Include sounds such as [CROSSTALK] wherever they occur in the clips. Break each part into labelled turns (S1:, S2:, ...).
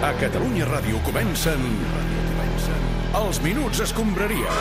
S1: A Catalunya Ràdio comencen... comencen Els Minuts Escombraria.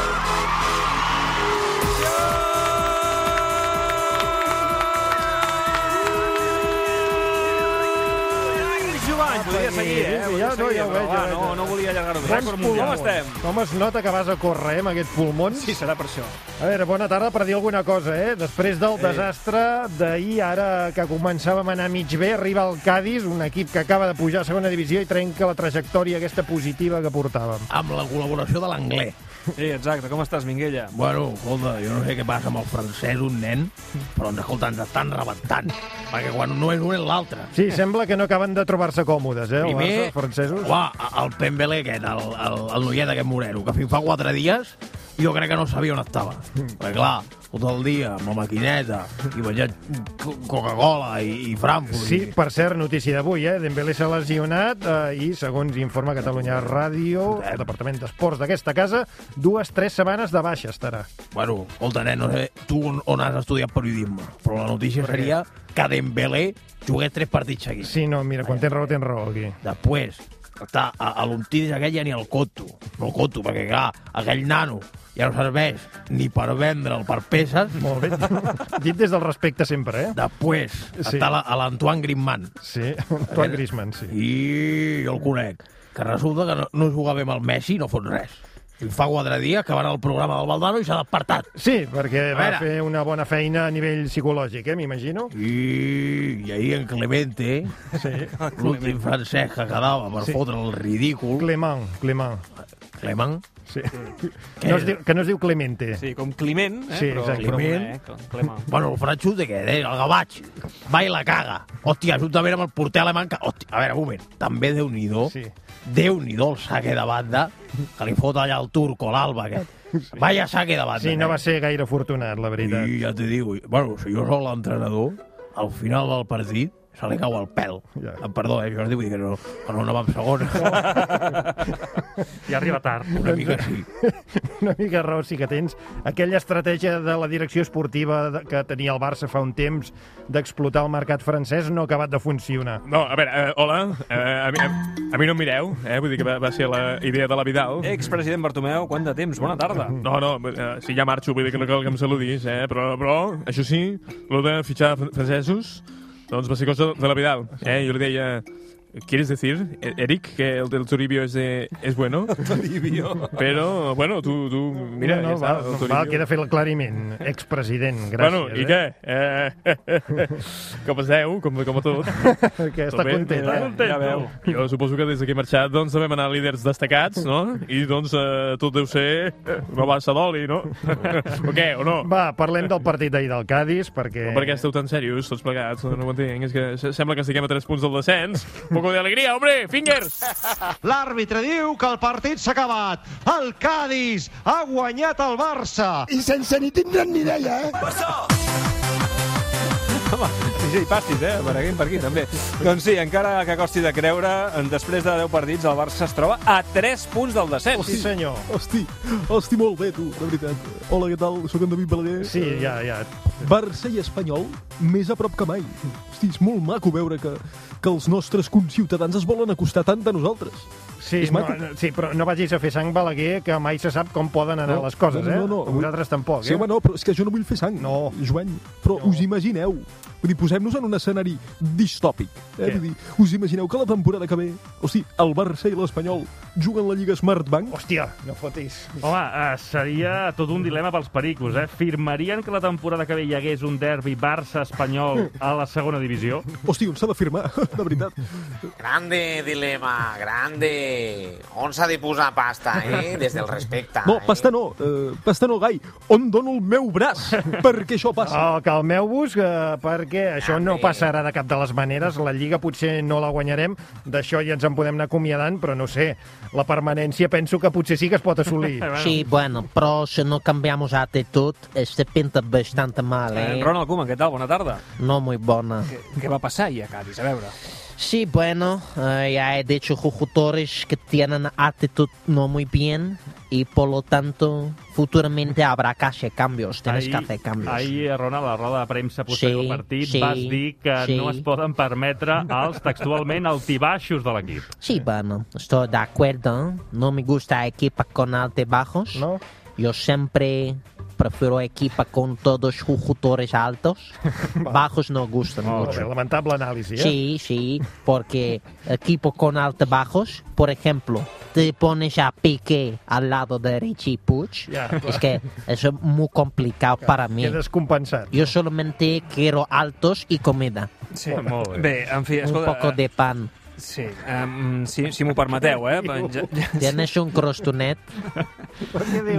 S2: Jovany, podria seguir, eh? Podria
S3: Vinga, ja, no,
S2: seguir,
S3: ja ho
S2: però
S3: veig,
S2: va,
S3: ja ho veig.
S2: no, no volia allargar-ho.
S3: Bons
S2: Rècord mundial. Com estem?
S3: Com es nota que vas a córrer, eh, amb aquests pulmons?
S2: Sí, serà per això.
S3: A veure, bona tarda per dir alguna cosa, eh? Després del desastre d'ahir, ara que començàvem a anar mig bé, arriba el Cádiz, un equip que acaba de pujar a segona divisió i trenca la trajectòria aquesta positiva que portàvem.
S2: Ah.
S4: amb la col·laboració de l'anglès.
S2: Sí, exacte. Com estàs, Minguella?
S4: Bueno, escolta, jo no sé què passa amb el francès, un nen, però ens, escolta, ens estan rebentant, perquè quan no és un és l'altre.
S3: Sí, sembla que no acaben de trobar-se còmodes, eh, el Barça, els francesos.
S4: Uà, el Pembele aquest, el, el, el noiet aquest moreno, que fins fa quatre dies jo crec que no sabia on estava. Perquè, clar, tot el dia amb la maquineta i menjant co- Coca-Cola i, i Frankfurt.
S3: Sí,
S4: i...
S3: per cert, notícia d'avui, eh? Dembélé s'ha lesionat eh, i, segons informa Catalunya Ràdio, el Departament d'Esports d'aquesta casa, dues, tres setmanes de baixa estarà.
S4: Bueno, escolta, nen, no sé tu on, on has estudiat periodisme, però la notícia
S3: Per què?
S4: seria que Dembélé jugués tres partits seguits.
S3: Sí, no, mira, quan tens raó, tens raó, aquí.
S4: Després, està, a, a l'Ontides aquell ja ni el coto, no el coto, perquè clar, aquell nano ja no serveix ni per vendre'l per peces.
S3: Molt bé. [LAUGHS] Dit des del respecte sempre, eh?
S4: Després,
S3: Sí.
S4: sí. està la- a l'Antoine Griezmann.
S3: Sí, Antoine Griezmann, sí.
S4: I jo el conec, que resulta que no, no jugava amb el Messi i no fot res. I fa quatre dies que va anar al programa del Valdano i s'ha despertat.
S3: Sí, perquè
S4: A
S3: va
S4: veure.
S3: fer una bona feina a nivell psicològic, eh, m'imagino.
S4: I, i ahir en Clemente,
S3: Sí.
S4: l'últim francès que quedava per
S3: Sí.
S4: sí. fotre el ridícul,
S3: Clement, Clement.
S4: Clement,
S3: Sí. No es diu, que no es diu Clemente.
S2: Sí, com Climent, eh?
S3: Sí,
S2: però,
S3: exacte.
S2: Però,
S4: Climent.
S2: eh? Com Clement.
S4: Bueno, el Franchu de què? Deia, el gavatx. Va i la caga. Hòstia, juntament amb el porter alemany... Que... Hòstia, a veure, un moment. També Déu-n'hi-do.
S3: Sí.
S4: Déu-n'hi-do el saque de banda que li fot allà el turco, l'alba aquest. Vaya saque de banda. eh?
S3: Sí, no
S4: nen.
S3: va ser gaire afortunat, la veritat.
S4: I ja t'hi diu. Bueno, si jo sóc l'entrenador, al final del partit se li cau el pèl.
S3: Ja.
S4: Em Perdó, eh, Jordi, vull dir que no, que no anava amb
S2: [LAUGHS]
S4: segona.
S5: I arriba tard.
S4: Una mica sí.
S3: Una mica raó sí que tens. Aquella estratègia de la direcció esportiva de- que tenia el Barça fa un temps d'explotar el mercat francès no ha acabat de funcionar.
S5: No, a veure, eh, hola, eh, a, mi, a, a mi no em mireu, eh? vull dir que va, va ser la idea de la Vidal.
S2: Ex-president Bartomeu, quant de temps? Bona tarda.
S5: No, no, eh, si ja marxo, vull dir que no cal que em saludis, eh? però, però això sí, l'ho de fitxar fr- francesos, doncs va ser cosa de la Vidal. Eh? Jo li deia, ¿quieres decir, E- Eric, que el del Toribio es, de,
S2: [LAUGHS]
S5: es bueno? Toribio. Però, bueno, tu, tu mira,
S3: no,
S5: ja
S3: no,
S5: està,
S3: val,
S5: el
S3: no,
S5: Toribio.
S3: val, queda fer l'aclariment. Expresident, gràcies.
S5: Bueno, i
S3: eh?
S5: què? Eh, [LAUGHS] com esteu? Com, com a tot?
S3: [LAUGHS] Que està
S5: Tot bé?
S3: content,
S5: Està
S3: eh?
S5: content,
S2: Ja
S5: no?
S2: veu.
S5: Jo suposo que des que he marxat doncs vam anar líders destacats, no? I doncs eh, tot deu ser eh, una bassa d'oli, no? o què, o no?
S3: eh? Va, parlem del partit d'ahir del Cádiz, perquè...
S5: Per què esteu tan serios, tots plegats? No ho entenc, és que se- sembla que estiguem a 3 punts del descens. Un poco de alegria, hombre! Fingers!
S6: L'àrbitre diu que el partit s'ha acabat. El Cádiz ha guanyat el Barça.
S7: i sense ni tindre'n ni idea, eh?
S2: Home, sí, sí, pastis, eh? Per aquí, per aquí, també. doncs sí, encara que costi de creure, en- després de 10 partits, el Barça es troba a 3 punts del descens.
S3: Sí, senyor.
S8: Hosti, hosti, molt bé, tu, de veritat. Hola, què tal? Soc en David Balaguer.
S3: Sí, ja, ja.
S8: Barça i Espanyol, més a prop que mai. Hosti, és molt maco veure que, que els nostres conciutadans es volen acostar tant de nosaltres.
S3: Sí,
S8: És
S3: no,
S8: maco.
S3: no, sí, però no vagis a fer sang Balaguer, que mai se sap com poden anar les coses, eh?
S8: No, no, no.
S3: Vosaltres tampoc,
S8: Sí,
S3: eh?
S8: home, no, però és que jo no vull fer sang,
S3: No.
S8: Joan. Però
S3: No.
S8: no. us imagineu, vull dir, posem-nos en un escenari distòpic.
S3: Què?
S8: Eh? Vull dir, us imagineu que la temporada que ve, hosti, el Barça i l'Espanyol juguen la Lliga Smartbank?
S3: Hòstia, no fotis.
S9: Home, eh, seria tot un dilema pels pericos, eh? Firmarien que la temporada que ve hi hagués un derbi Barça-Espanyol a la segona divisió?
S8: Hosti, on s'ha de firmar, [LAUGHS] de veritat?
S10: Grande dilema, grande. On s'ha de posar pasta, eh? Des del respecte.
S8: No,
S10: eh?
S8: pasta no, eh, pasta no, Gai. On dono el meu braç perquè això passi?
S3: Oh, calmeu-vos, eh, perquè això no
S10: També.
S3: passarà de cap de les maneres. La Lliga potser no la guanyarem, d'això ja ens en podem anar acomiadant, però no sé, la permanència penso que potser sí que es pot [LAUGHS] assolir.
S4: Sí, bueno, però si no cambiamos actitud, este pinta bastante mal,
S11: ¿eh?
S2: Eh, Ronald Koeman, què tal? Bona tarda.
S4: No muy bona.
S2: Què va passar ahir a Cádiz? A veure.
S11: Sí, bueno, eh, ya he dicho jugadores que tienen actitud no muy bien y por lo tanto futuramente habrá casi cambios, tienes que hacer cambios.
S9: Ahir, eh, Ronald, a la roda de premsa posterior
S11: Sí,
S9: al partit,
S11: sí,
S9: vas dir que
S11: sí.
S9: no es poden permetre els textualment altibaixos de l'equip.
S11: Sí, bueno, estoy de acuerdo. ¿eh? No me gusta equipa con altibajos. No. Yo siempre prefiero equipa con todos jugadores
S3: [LAUGHS]
S11: altos. Bajos no gustan
S3: Molt
S11: mucho.
S3: bé, lamentable anàlisi, eh?
S11: Sí, sí, porque equipo con altibajos, por ejemplo, te pones a Piqué al lado de Richie Puig,
S3: Ya, claro.
S11: es que eso es muy complicado para mí.
S3: Quedes compensat.
S11: Yo solamente quiero altos y comida.
S2: Sí. Molt bé. Bé, en fi,
S11: Un
S2: escolta,
S11: poco de pan.
S2: Sí, um, si, si m'ho permeteu,
S3: [LAUGHS]
S2: eh? Ja, ja...
S11: Tienes
S2: [LAUGHS]
S11: un crostonet.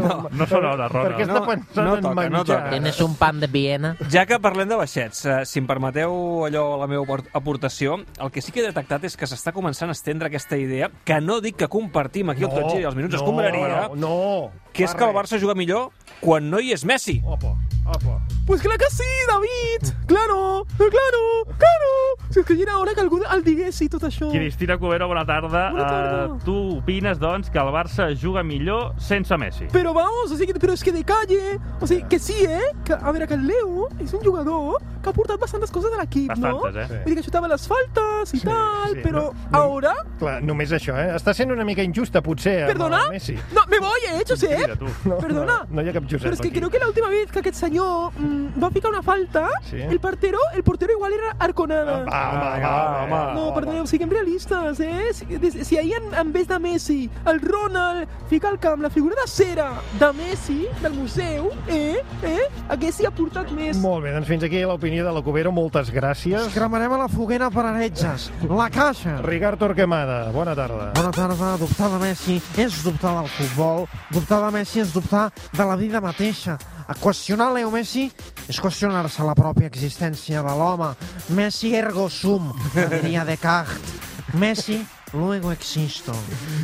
S2: No, no són hores, Ronald. Per què està pensant No, no en toca, no menjar? toca.
S11: Tienes un pan de Viena.
S2: Ja que parlem de baixets, eh, si em permeteu allò la meva apor- aportació, el que sí que he detectat és que s'està començant a estendre aquesta idea, que no dic que compartim aquí no, el
S3: No,
S2: tot gir i els minuts
S3: no,
S2: escombraria,
S3: no, no,
S2: que és
S3: fa
S2: que el
S3: res. Oh,
S2: Barça juga millor quan no hi és Messi.
S3: Opa, opa.
S12: Pues claro que sí, David! Claro, claro, claro! Si es que era hora que algú el digués i tot això.
S9: Cristina Cubero, bona tarda.
S12: Bona tarda.
S9: Eh, tu opines, doncs, que el Barça juga millor sense Messi?
S12: Pero vamos, o sigui, però és que de calle, o sigui, que sí, eh? Que, a veure, que el Leo és un jugador que ha portat bastantes coses a l'equip, no?
S3: Bastantes, eh? Sí.
S12: Vull dir que xutava les faltes i sí, tal,
S3: sí,
S12: sí, però
S3: no,
S12: no, ara...
S3: Clar, només això, eh? Està sent una mica injusta, potser, amb
S12: Perdona?
S3: el Messi.
S12: No, me voy, eh, Josep?
S3: Mira, tu. No,
S12: Perdona?
S3: No, no hi ha cap Josep
S12: Però és que
S3: aquí.
S12: creo que la última vez que aquest senyor mm, va ficar una falta,
S3: Sí. Ah,
S12: el portero, el portero igual era Arconada.
S3: va, va, va, va.
S12: No, perdoneu, siguem realistes, eh? Si, des- si ahir en, en vez de Messi, el Ronald fica al camp la figura de cera de Messi, del museu, eh? Eh? Haguessi aportat més.
S3: Molt bé, doncs fins aquí l'opinió de la Cubero. Moltes gràcies.
S13: Cremarem a la foguera per heretges. La caixa.
S3: Ricard Torquemada, bona tarda.
S13: Bona tarda. Dubtar de Messi és dubtar del futbol. Dubtar de Messi és dubtar de la vida mateixa. A qüestionar Leo Messi és qüestionar-se la pròpia existència de l'home. Messi ergo sum, que diria Descartes. Messi luego existo.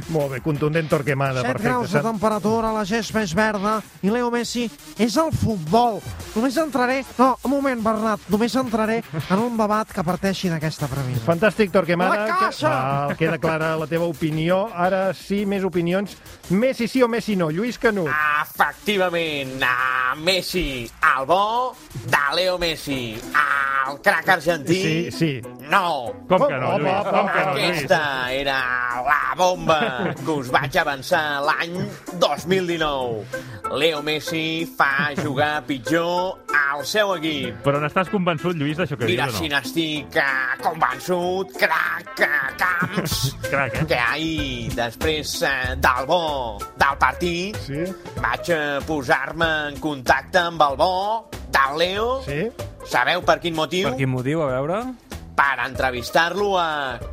S3: Molt bé, contundent Torquemada,
S13: 7
S3: perfecte.
S13: graus de
S3: Sap-
S13: temperatura, la gespa és verda i Leo Messi és el futbol. Només entraré... No, un moment, Bernat. Només entraré en un debat que parteixi d'aquesta premissa.
S3: Fantàstic, Torquemada.
S13: La caixa!
S3: Que... Val, queda clara la teva opinió. Ara sí, més opinions. Messi sí o Messi no. Lluís Canut.
S10: Ah, Efectivament, a Messi, el bo de Leo Messi, el crac argentí.
S3: Sí, sí. Oh,
S10: No.
S9: Com que no,
S10: Home,
S9: Lluís?
S10: home,
S9: Com que no, Lluís?
S10: Aquesta era la bomba que us vaig avançar l'any 2019. Leo Messi fa jugar pitjor al seu equip.
S9: Però n'estàs convençut, Lluís, d'això que
S10: Mira,
S9: dius o no?
S10: si n'estic eh, convençut, crac, eh,
S3: [LAUGHS]
S10: camps,
S9: Crac, eh?
S10: que ahir, després eh, del bo del partit,
S3: sí?
S10: vaig eh, posar-me en contacte amb el bo del Leo.
S3: Sí?
S10: Sabeu per quin motiu?
S2: Per quin motiu, a veure?
S10: Per entrevistar-lo a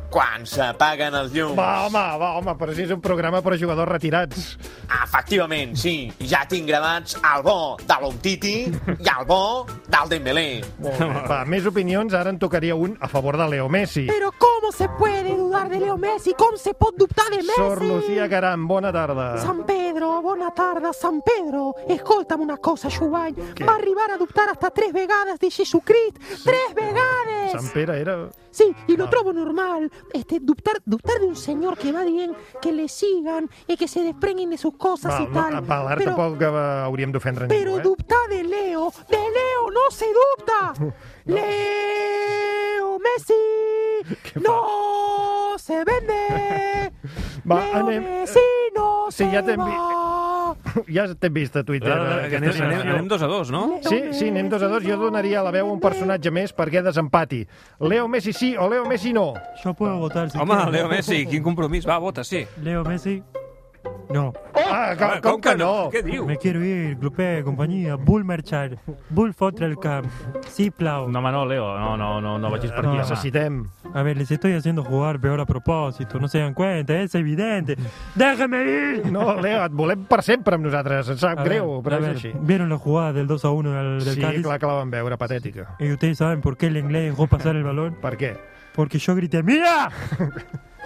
S10: quan s'apaguen els llums.
S3: Va, home, va, home, però si és un programa per a jugadors retirats.
S10: Efectivament, sí. Ja tinc gravats el bo de l'Omtiti i el bo del Dembélé.
S3: Molt bé. Va, més opinions. Ara en tocaria un a favor de Leo Messi.
S12: Pero ¿cómo se puede dudar de Leo Messi? ¿Cómo se puede dubtar de Messi?
S3: Sor Lucía Caram, bona tarda.
S12: San Pedro, bona tarda, San Pedro. Escolta'm una cosa, Xubany.
S3: Què?
S12: Va arribar a adoptar hasta tres vegades de Jesucrist. Tres vegades!
S3: Sant Pere era...
S12: Sí, y lo
S3: Ah.
S12: trobo normal. Este, dubtar, dubtar de un señor que va bien, que le sigan y que se desprenguen de sus cosas
S3: Val,
S12: y
S3: no,
S12: tal.
S3: val, ara
S12: pero,
S3: tampoc eh, hauríem d'ofendre
S12: pero
S3: ningú, eh?
S12: dubtar de Leo, de Leo no se dubta. Leo Messi no se vende.
S3: Va,
S12: Leo
S3: anem-
S12: Messi no
S3: Sí,
S12: se
S3: ja t'hem
S12: va.
S3: [LAUGHS] Ja t'hem vist a Twitter.
S2: Ara,
S3: eh,
S2: anem,
S3: aquesta
S2: anem,
S3: situació.
S2: anem dos a dos, no?
S3: Sí, sí, anem dos a dos. Jo donaria la veu a un personatge més perquè desempati. Leo Messi sí o Leo Messi no.
S14: Yo puedo votar si
S2: Home,
S14: quiero.
S2: Leo Messi, quin compromís. Va, vota, sí.
S14: Leo Messi. No.
S3: Ah, com, com que no?
S2: Què diu?
S14: Me quiero ir, clube, compañía, bull marchar, bull fotre el camp, sí plau.
S9: No, home, no, Leo, no, no, no, no vagis per aquí, home.
S3: Necessitem.
S14: A ver, les estoy haciendo jugar peor a propósito, no se dan cuenta, es evidente. ¡Déjame ir!
S3: No, Leo, et volem per sempre amb nosaltres. Em sap
S14: A ver,
S3: greu,
S14: a
S3: però és
S14: ver,
S3: així.
S14: ¿Vieron la jugada del 2 a 1 del, del
S3: Sí,
S14: Cádiz?
S3: clar que la vam veure, patètica.
S14: ¿Y ustedes saben por qué el inglés dejó pasar el balón?
S3: ¿Por qué? [LAUGHS]
S14: Porque yo grité, ¡Mira!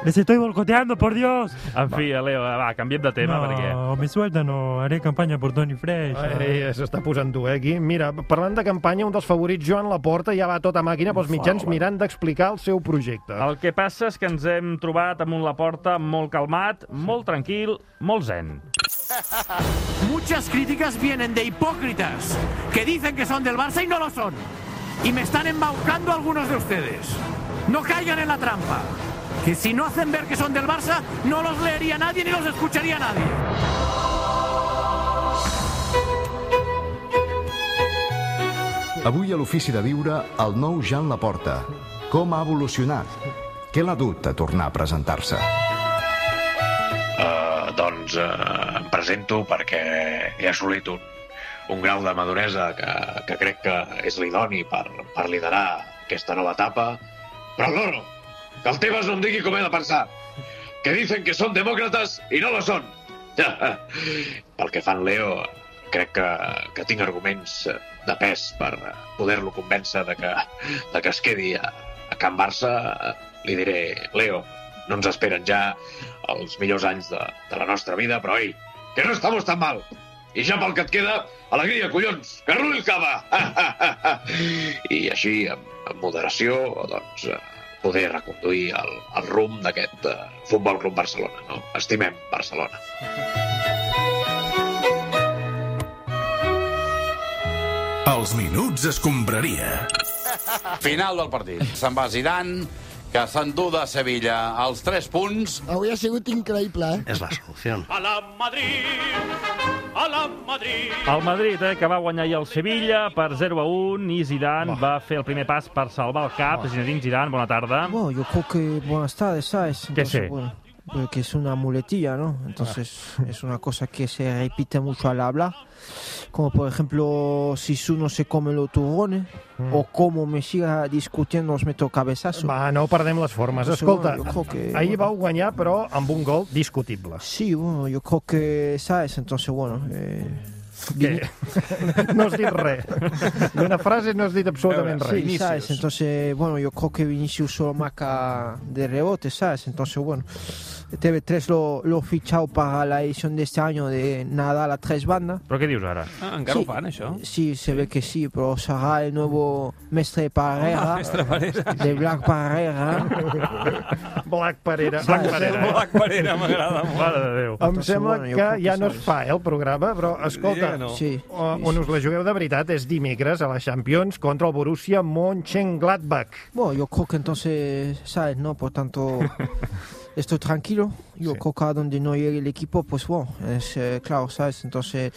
S14: Les estoy boicoteando, por Dios.
S9: En fi, Leo, va, canviem de tema,
S14: no,
S9: perquè...
S14: me sueltan o haré campaña por Tony Fresh.
S3: Ai, s'està posant dur, eh, aquí. Mira, parlant de campanya, un dels favorits, Joan Laporta, ja va a tota màquina pels mitjans mirant d'explicar el seu projecte.
S9: El que passa és que ens hem trobat amunt la porta molt calmat, molt tranquil, molt zen.
S15: [LAUGHS] Muchas críticas vienen de hipócritas que dicen que son del Barça y no lo son. Y me están embaucando algunos de ustedes. No caigan en la trampa. Que si no hacen ver que son del Barça, no los leería nadie ni los escucharía nadie.
S16: Avui a l'Ofici de Viure, el nou Jan Laporta. Com ha evolucionat? Què l'ha dut a tornar a presentar-se?
S10: Eh, doncs eh, em presento perquè he assolit un, un grau de maduresa que, que crec que és l'idoni per, per liderar aquesta nova etapa. Però no, no, que el Tebas no em digui com he de pensar. Que dicen que són demòcrates i no lo són. [LAUGHS] Pel que fan Leo, crec que, que tinc arguments eh, de pes per eh, poder-lo convèncer de que, de que es quedi a, a Can Barça. Eh, Li diré, Leo, no ens esperen ja els millors anys de, de la nostra vida, però ei, que no estamos tan mal. I ja pel que et queda, alegria, collons, que rulli el cava! [LAUGHS] I així, amb, amb moderació, doncs, eh, poder reconduir el, el rumb d'aquest eh, Futbol Club Barcelona. No? Estimem Barcelona.
S17: Els minuts es compraria.
S18: Final del partit. Se'n va Zidane, que s'endú de Sevilla els 3 punts.
S19: Avui ha sigut increïble, eh?
S18: És la solució.
S15: A la Madrid, a la Madrid.
S9: El Madrid, eh, que va guanyar ahir el Sevilla per 0 a 1 i Zidane va fer el primer pas per salvar el cap. Zinedine Zidane, bona tarda.
S20: Bueno, yo creo que buenas tardes, ¿sabes? Entonces,
S9: sé?
S20: bueno, pues que es una muletilla, ¿no? Entonces
S3: Ah.
S20: es una cosa que se repite mucho al hablar. Como por ejemplo, si uno se come los turrones o como me siga discutiendo los meto cabezazos.
S3: Mm. Va, no perdem les formes. Escolta,
S20: Bueno, jo crec que-
S3: ahir vau guanyar, però amb un gol discutible.
S20: Sí, bueno, yo creo que, ¿sabes? Entonces, bueno... Eh,
S3: Què? No has dit res. D'una frase no has dit absolutament res.
S20: Sí, ¿sabes? Entonces, bueno, yo creo que Vinicius solo marca de rebote, ¿sabes? Entonces, bueno, TV3 lo, lo ha fichado para la edición de este año de Nadal a tres bandas.
S9: Però què dius ara?
S20: Ah, encara ho fan, Sí, se ve que sí, pero será el nuevo Ah, mestre de
S21: Home,
S20: Parrera,
S21: mestre Parera.
S20: de Black [LAUGHS] Parrera.
S3: Black Parera.
S20: Black
S3: Em
S20: Parera.
S3: sembla-
S20: Black Parera, m'agrada molt.
S9: Mare de Déu.
S3: Em sembla
S20: Bueno, jo
S3: que
S20: crec que
S3: ja no es
S20: saps.
S3: fa, eh, el programa, però, escolta,
S20: no. Sí,
S3: o- on us la jugueu de veritat és dimecres a la Champions contra el Borussia Mönchengladbach.
S20: Bueno, yo creo que entonces, ¿sabes? No, por
S3: [LAUGHS]
S20: tanto, estoy tranquilo. Yo creo que a donde no llegue el equipo, pues bueno, es eh, claro, ¿sabes? Entonces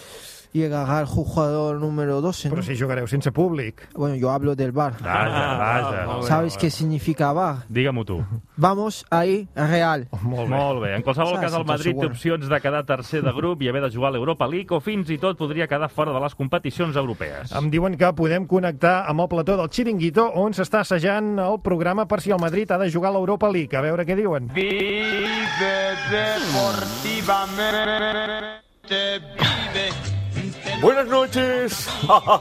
S20: llegará el jugador número 12. ¿no?
S3: Però si jugareu sense públic.
S20: Bueno, yo hablo del bar.
S9: Vaja, vaja. molt bé,
S20: ¿Sabes
S9: molt
S20: qué significa bar?
S9: Digue-m'ho tu.
S20: Vamos ahí, Real.
S3: Molt
S9: bé. Molt bé. En qualsevol
S20: Saps,
S9: cas, el
S20: entonces,
S9: Madrid té
S20: bueno.
S9: opcions de quedar tercer de grup i haver de jugar a l'Europa League o fins i tot podria quedar fora de les competicions europees.
S3: Em diuen que podem connectar amb el plató del Chiringuito, on s'està assajant el programa per si el Madrid ha de jugar a l'Europa League. A veure què diuen.
S22: Vive deportivamente, vive.
S6: Buenas noches.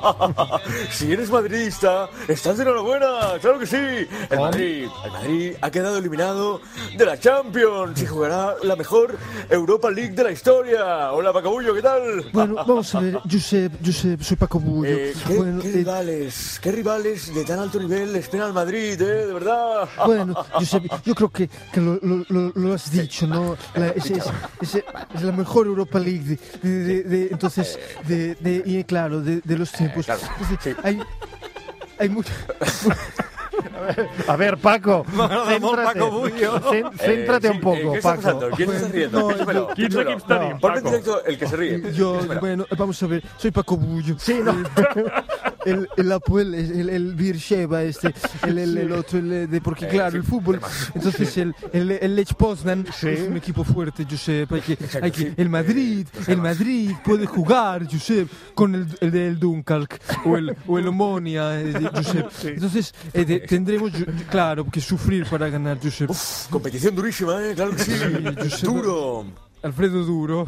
S6: [LAUGHS] si eres madridista, estás de enhorabuena. Claro que sí. El Madrid, el Madrid ha quedado eliminado de la Champions y jugará la mejor Europa League de la historia. Hola, Pacabullo, ¿qué tal?
S23: Bueno, vamos a ver, Josep, Josep, soy Paco Bullo.
S6: Eh, ¿qué,
S23: bueno,
S6: qué
S23: eh,
S6: rivales, qué rivales de tan alto nivel esperan al Madrid, eh? De verdad.
S23: bueno, Josep, yo creo que, que lo, lo- lo- lo has dicho, ¿no?
S6: [LAUGHS]
S23: La- es, es- es- es la mejor Europa League, de, de- de- de- entonces, de, de- y claro, de, de los tiempos.
S6: Eh, claro,
S23: Entonces, hay, hay mucha-
S3: A ver,
S6: [LAUGHS]
S3: Paco,
S23: M'agrada molt
S3: céntrate.
S23: Paco Bullo.
S3: Cén- Céntrate
S6: Eh, sí,
S3: un poco,
S6: eh, ¿Qué está
S23: Paco.
S6: pasando? ¿Quién se está riendo?
S23: No,
S6: Piénsamelo,
S23: yo-
S6: piénsamelo.
S23: ¿Quién está bien,
S6: Ponme en
S23: Paco?
S6: directo el que se ríe.
S23: Yo,
S6: Piénsamelo.
S23: bueno, vamos a ver, soy Paco Bullo. Sí,
S3: no.
S23: [LAUGHS] El, el Apuel, el, el Birsheva, este, el, el, el otro, el eh, de, porque
S6: Eh,
S23: claro,
S6: sí,
S23: el fútbol. Entonces, el, el, el Lech Poznan Sí. es un equipo fuerte, Josep. Hay que,
S6: Exacto,
S23: hay que-
S6: sí.
S23: el Madrid, el Madrid puede jugar, Josep, con el, el del Dunkirk o el, o el Omonia, eh, de- Josep. Entonces, eh, de- tendremos, yo- claro, que sufrir para ganar, Josep.
S6: Competición durísima, eh, claro que sí.
S23: Josep.
S6: Duro. [LAUGHS]
S23: Alfredo Duro.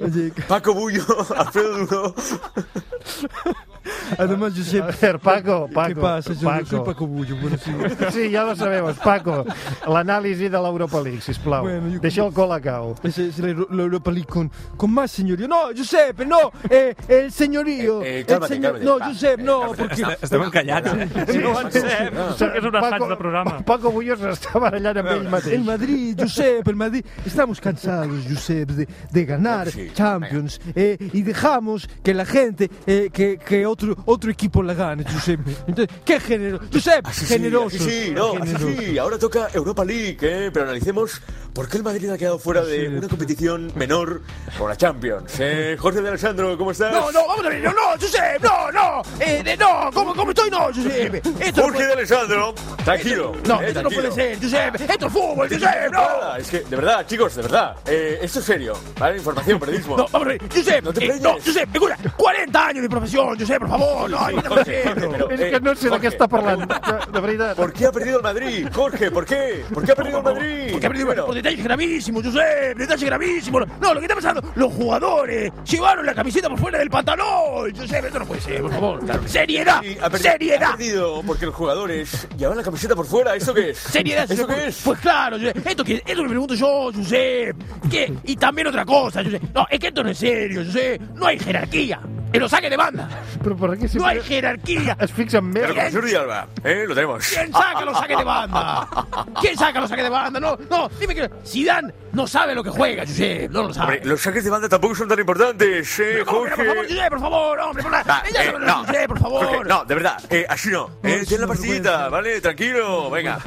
S23: Oye,
S6: Paco Bullo, Alfredo Duro.
S23: Además, Ah, Josep.
S3: A ver, Paco, Paco.
S23: ¿Qué pasa? Yo
S3: Paco.
S23: soy Paco Bullo. Bueno, sí.
S3: Sí, ja lo sabemos, Paco. L'anàlisi de l'Europa League, sisplau.
S23: Bueno, jo-
S3: Deixa el col a cau.
S23: Es, es la Euro- la Europa League con, con más señorío. No, Josep, no. Eh, el señorío.
S8: Eh, eh,
S23: El
S8: cálmate,
S23: señor-
S8: cálmate,
S23: No,
S8: va.
S23: Josep, no.
S8: Eh,
S23: Porque...
S8: est- estem encallats, eh?
S23: Sí,
S8: Sí,
S23: sí, sí.
S8: Això que és un assaig de programa.
S3: Paco Bullos s'està barallant amb
S6: Ah,
S3: ell mateix.
S23: El Madrid, Josep, el Madrid. Estamos cansados, Josep, de, de ganar Champions. eh, y dejamos que la gente, eh, que, que otro, otro equipo la gane, Josep. Entonces, qué generoso. Josep,
S6: Así Ah, sí,
S23: generoso.
S6: así sí, no, así sí. Ahora toca Europa League, ¿eh? Pero analicemos por qué el Madrid ha quedado fuera de una competición menor por la Champions. Eh, Jorge de Alessandro, ¿cómo estás?
S23: No, no, vamos a ver, no, no, Josep, no, no, eh, de- no, ¿cómo, cómo estoy? No, Josep. Esto no
S6: Jorge
S23: puede-
S6: de Alessandro, tranquilo.
S23: No,
S6: eh,
S23: esto no puede
S6: tranquilo.
S23: ser, Josep. Esto es fútbol, Josep, no.
S6: Ah, Es que, de verdad, chicos, de verdad. Eh, esto es serio, ¿vale? Información, periodismo.
S23: No, vamos a ver, Josep,
S6: No te
S23: eh,
S6: preñes.
S23: no, Josep, me cura, 40 años de profesión, Josep, por favor, no,
S6: Sí,
S23: no puede
S6: Jorge,
S23: ser.
S6: Jorge, pero,
S3: És que
S6: eh,
S3: no sé de
S6: Jorge,
S3: què està parlant, de, de veritat.
S6: ¿Por qué ha perdido el Madrid? Jorge, ¿por qué? ¿Por qué ha perdido el Madrid?
S23: Porque ha perdido
S6: Bueno,
S23: por detalles gravísimos, Josep, detalles gravísimos. No, lo que está pasando, los jugadores llevaron la camiseta por fuera del pantalón, Josep, esto no puede ser, por favor. claro. Seriedad,
S6: Sí, ha perdi-
S23: seriedad.
S6: Ha perdido porque los jugadores llevan la camiseta por fuera. ¿Eso qué es?
S23: Seriedad,
S6: ¿Eso
S23: señor.
S6: qué es?
S23: Pues claro, yo- esto, que, esto me pregunto yo, Josep. ¿Qué? Y también otra cosa, Josep. No, es que esto no es serio, Josep. No hay jerarquía. Que lo saque de banda.
S3: Però per què
S23: No hay jerarquía.
S3: es fixa en
S6: Pero con
S3: més?
S6: Jordi Alba, ¿eh? Lo tenemos.
S23: ¿Quién saca los saques de banda? ¿Quién saca los saques de banda? No, no, dime que. Zidane no sabe lo que juega, Josep. No lo sabe.
S6: Hombre, los saques de banda tampoco son tan importantes, ¿eh,
S23: Hombre, por favor,
S6: Jorge?
S23: Josep, por favor, hombre, por
S6: Va,
S23: la. Ella
S6: eh,
S23: sabe lo que
S6: no,
S23: Josep, por favor.
S6: Jorge, no, de verdad, eh, así no. Eh, ten la partidita, ¿vale? Tranquilo, venga.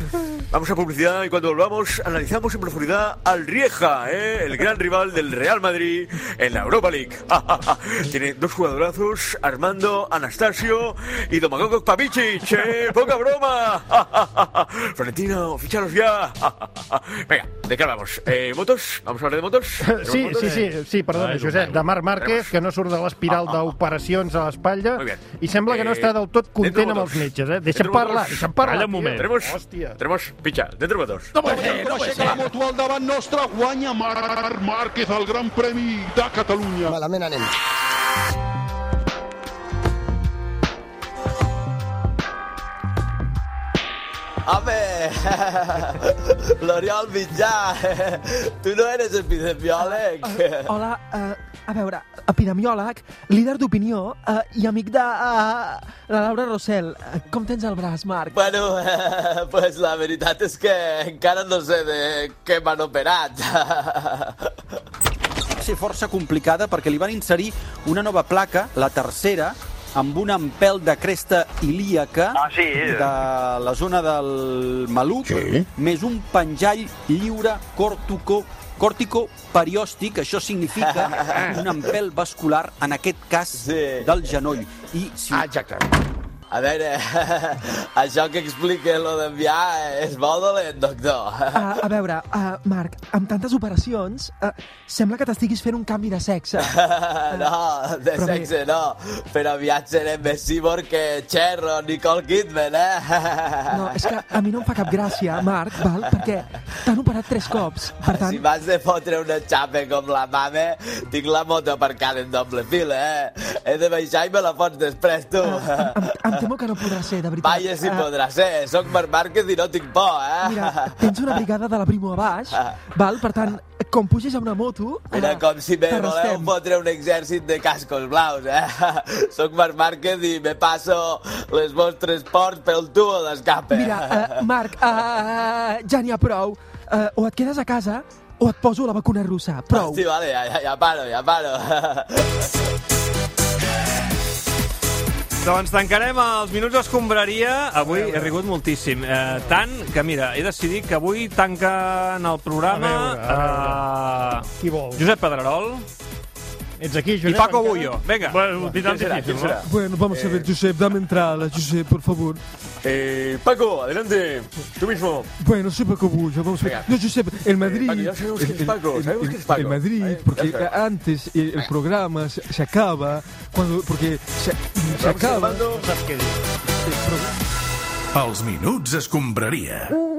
S6: Vamos a publicidad y cuando volvamos analizamos en profundidad al Rieja, ¿eh? el gran rival del Real Madrid en la Europa League. [LAUGHS] Tiene dos jugadorazos, Armando, Anastasio y Domagogos Pavichich. ¿eh? Poca broma. [LAUGHS] Florentino, ficharos ya. [LAUGHS] venga, ¿de qué hablamos? Eh, ¿Motos? ¿Vamos a hablar de motos? ¿Tenemos
S3: Sí,
S6: motos?
S3: sí, sí, sí, perdona,
S6: Ai, Ah,
S3: Josep, de Marc Márquez, que no surt de l'espiral d'operacions a l'espatlla i sembla
S6: Eh,
S3: que no està del tot content amb els metges, eh? Deixa'm parlar, deixa'm parlar.
S6: Calla un moment.
S3: tio.
S6: Tenemos, tenemos pitxa, dentro motos.
S23: No pot ser, no pot
S5: Aixeca la
S23: ser.
S5: moto al davant nostre, guanya Marc Márquez al Gran Premi de Catalunya. Malament anem.
S22: Hombre, [LAUGHS] L'Oriol Mitjà, tu no eres epidemiòleg.
S24: Eh, Hola, uh, a veure, epidemiòleg, líder d'opinió uh, i amic de uh, la Laura Rossell. Uh, com tens el braç, Marc?
S22: Bueno, eh, pues la veritat és que encara no sé de què m'han operat. [LAUGHS]
S25: va ser força complicada perquè li van inserir una nova placa, la tercera, amb un empelt de cresta ilíaca ah, sí. de la zona del maluc, sí. més un penjall lliure cortico còrtico periòstic, això significa [LAUGHS] un empelt vascular, en aquest cas sí. del genoll. I si... Ah, exacte.
S22: A veure, això que explica lo d'enviar és molt dolent, doctor.
S24: Uh, a veure, uh, Marc, amb tantes operacions, uh, sembla que t'estiguis fent un canvi de sexe.
S22: [LAUGHS] No, de
S24: Però bé.
S22: sexe no, però aviat seré més cíborg que Cherro, Nicole Kidman, eh?
S24: No, és que a mi no em fa cap gràcia, Marc, val? perquè t'han operat tres cops. Per tant,
S22: Si m'has de fotre una xapa com la mama, tinc la moto aparcada en doble fila, eh? He de baixar i me la fots després,
S24: [LAUGHS]
S22: tu.
S24: em temo que no podrà ser, de veritat.
S22: Vaja, si
S24: Eh,
S22: podrà ser. Soc Marc Márquez i no tinc por, eh?
S24: Mira, tens una brigada de la Primo a baix, val? Per tant, com pugis a una moto...
S22: [LAUGHS]
S24: eh,
S22: Mira, com si me voleu
S24: t'arrestem.
S22: fotre un exèrcit de cascos blaus, eh? [LAUGHS] Soc Marc Márquez i me passo les vostres ports pel tubo d'escape.
S24: Mira,
S22: [LAUGHS]
S24: uh, Marc, uh, ja n'hi ha prou. Uh, o et quedes a casa o et poso la vacuna russa. Prou.
S22: Sí, vale, ja, ja, ja paro, ja paro. [LAUGHS]
S2: Doncs tancarem els minuts d'escombraria. Avui he rigut moltíssim. Eh, tant que, mira, he decidit que avui tanquen el programa...
S3: A veure,
S2: eh,
S3: Qui vol?
S2: Josep Pedrerol.
S3: Ets aquí,
S2: I
S3: Josep,
S2: Paco
S3: encara?
S2: Bullo. Vinga.
S3: Bueno,
S6: tant difícil, ¿no?
S23: Bueno, vamos a ver, Josep, dame entrada, Josep, por favor.
S6: Eh, Paco, adelante. Tú mismo.
S23: Bueno, soy Paco Bullo, vamos a ver. No, Josep, el Madrid...
S6: Paco, Eh, ya sabemos quién es Paco,
S23: el-
S6: sabemos
S23: el-
S6: quién es Paco.
S23: el Madrid,
S6: Eh,
S23: porque
S6: ya sabemos.
S23: antes el, el programa se, se acaba, cuando, porque se, se acaba...
S1: Els minuts escombraria.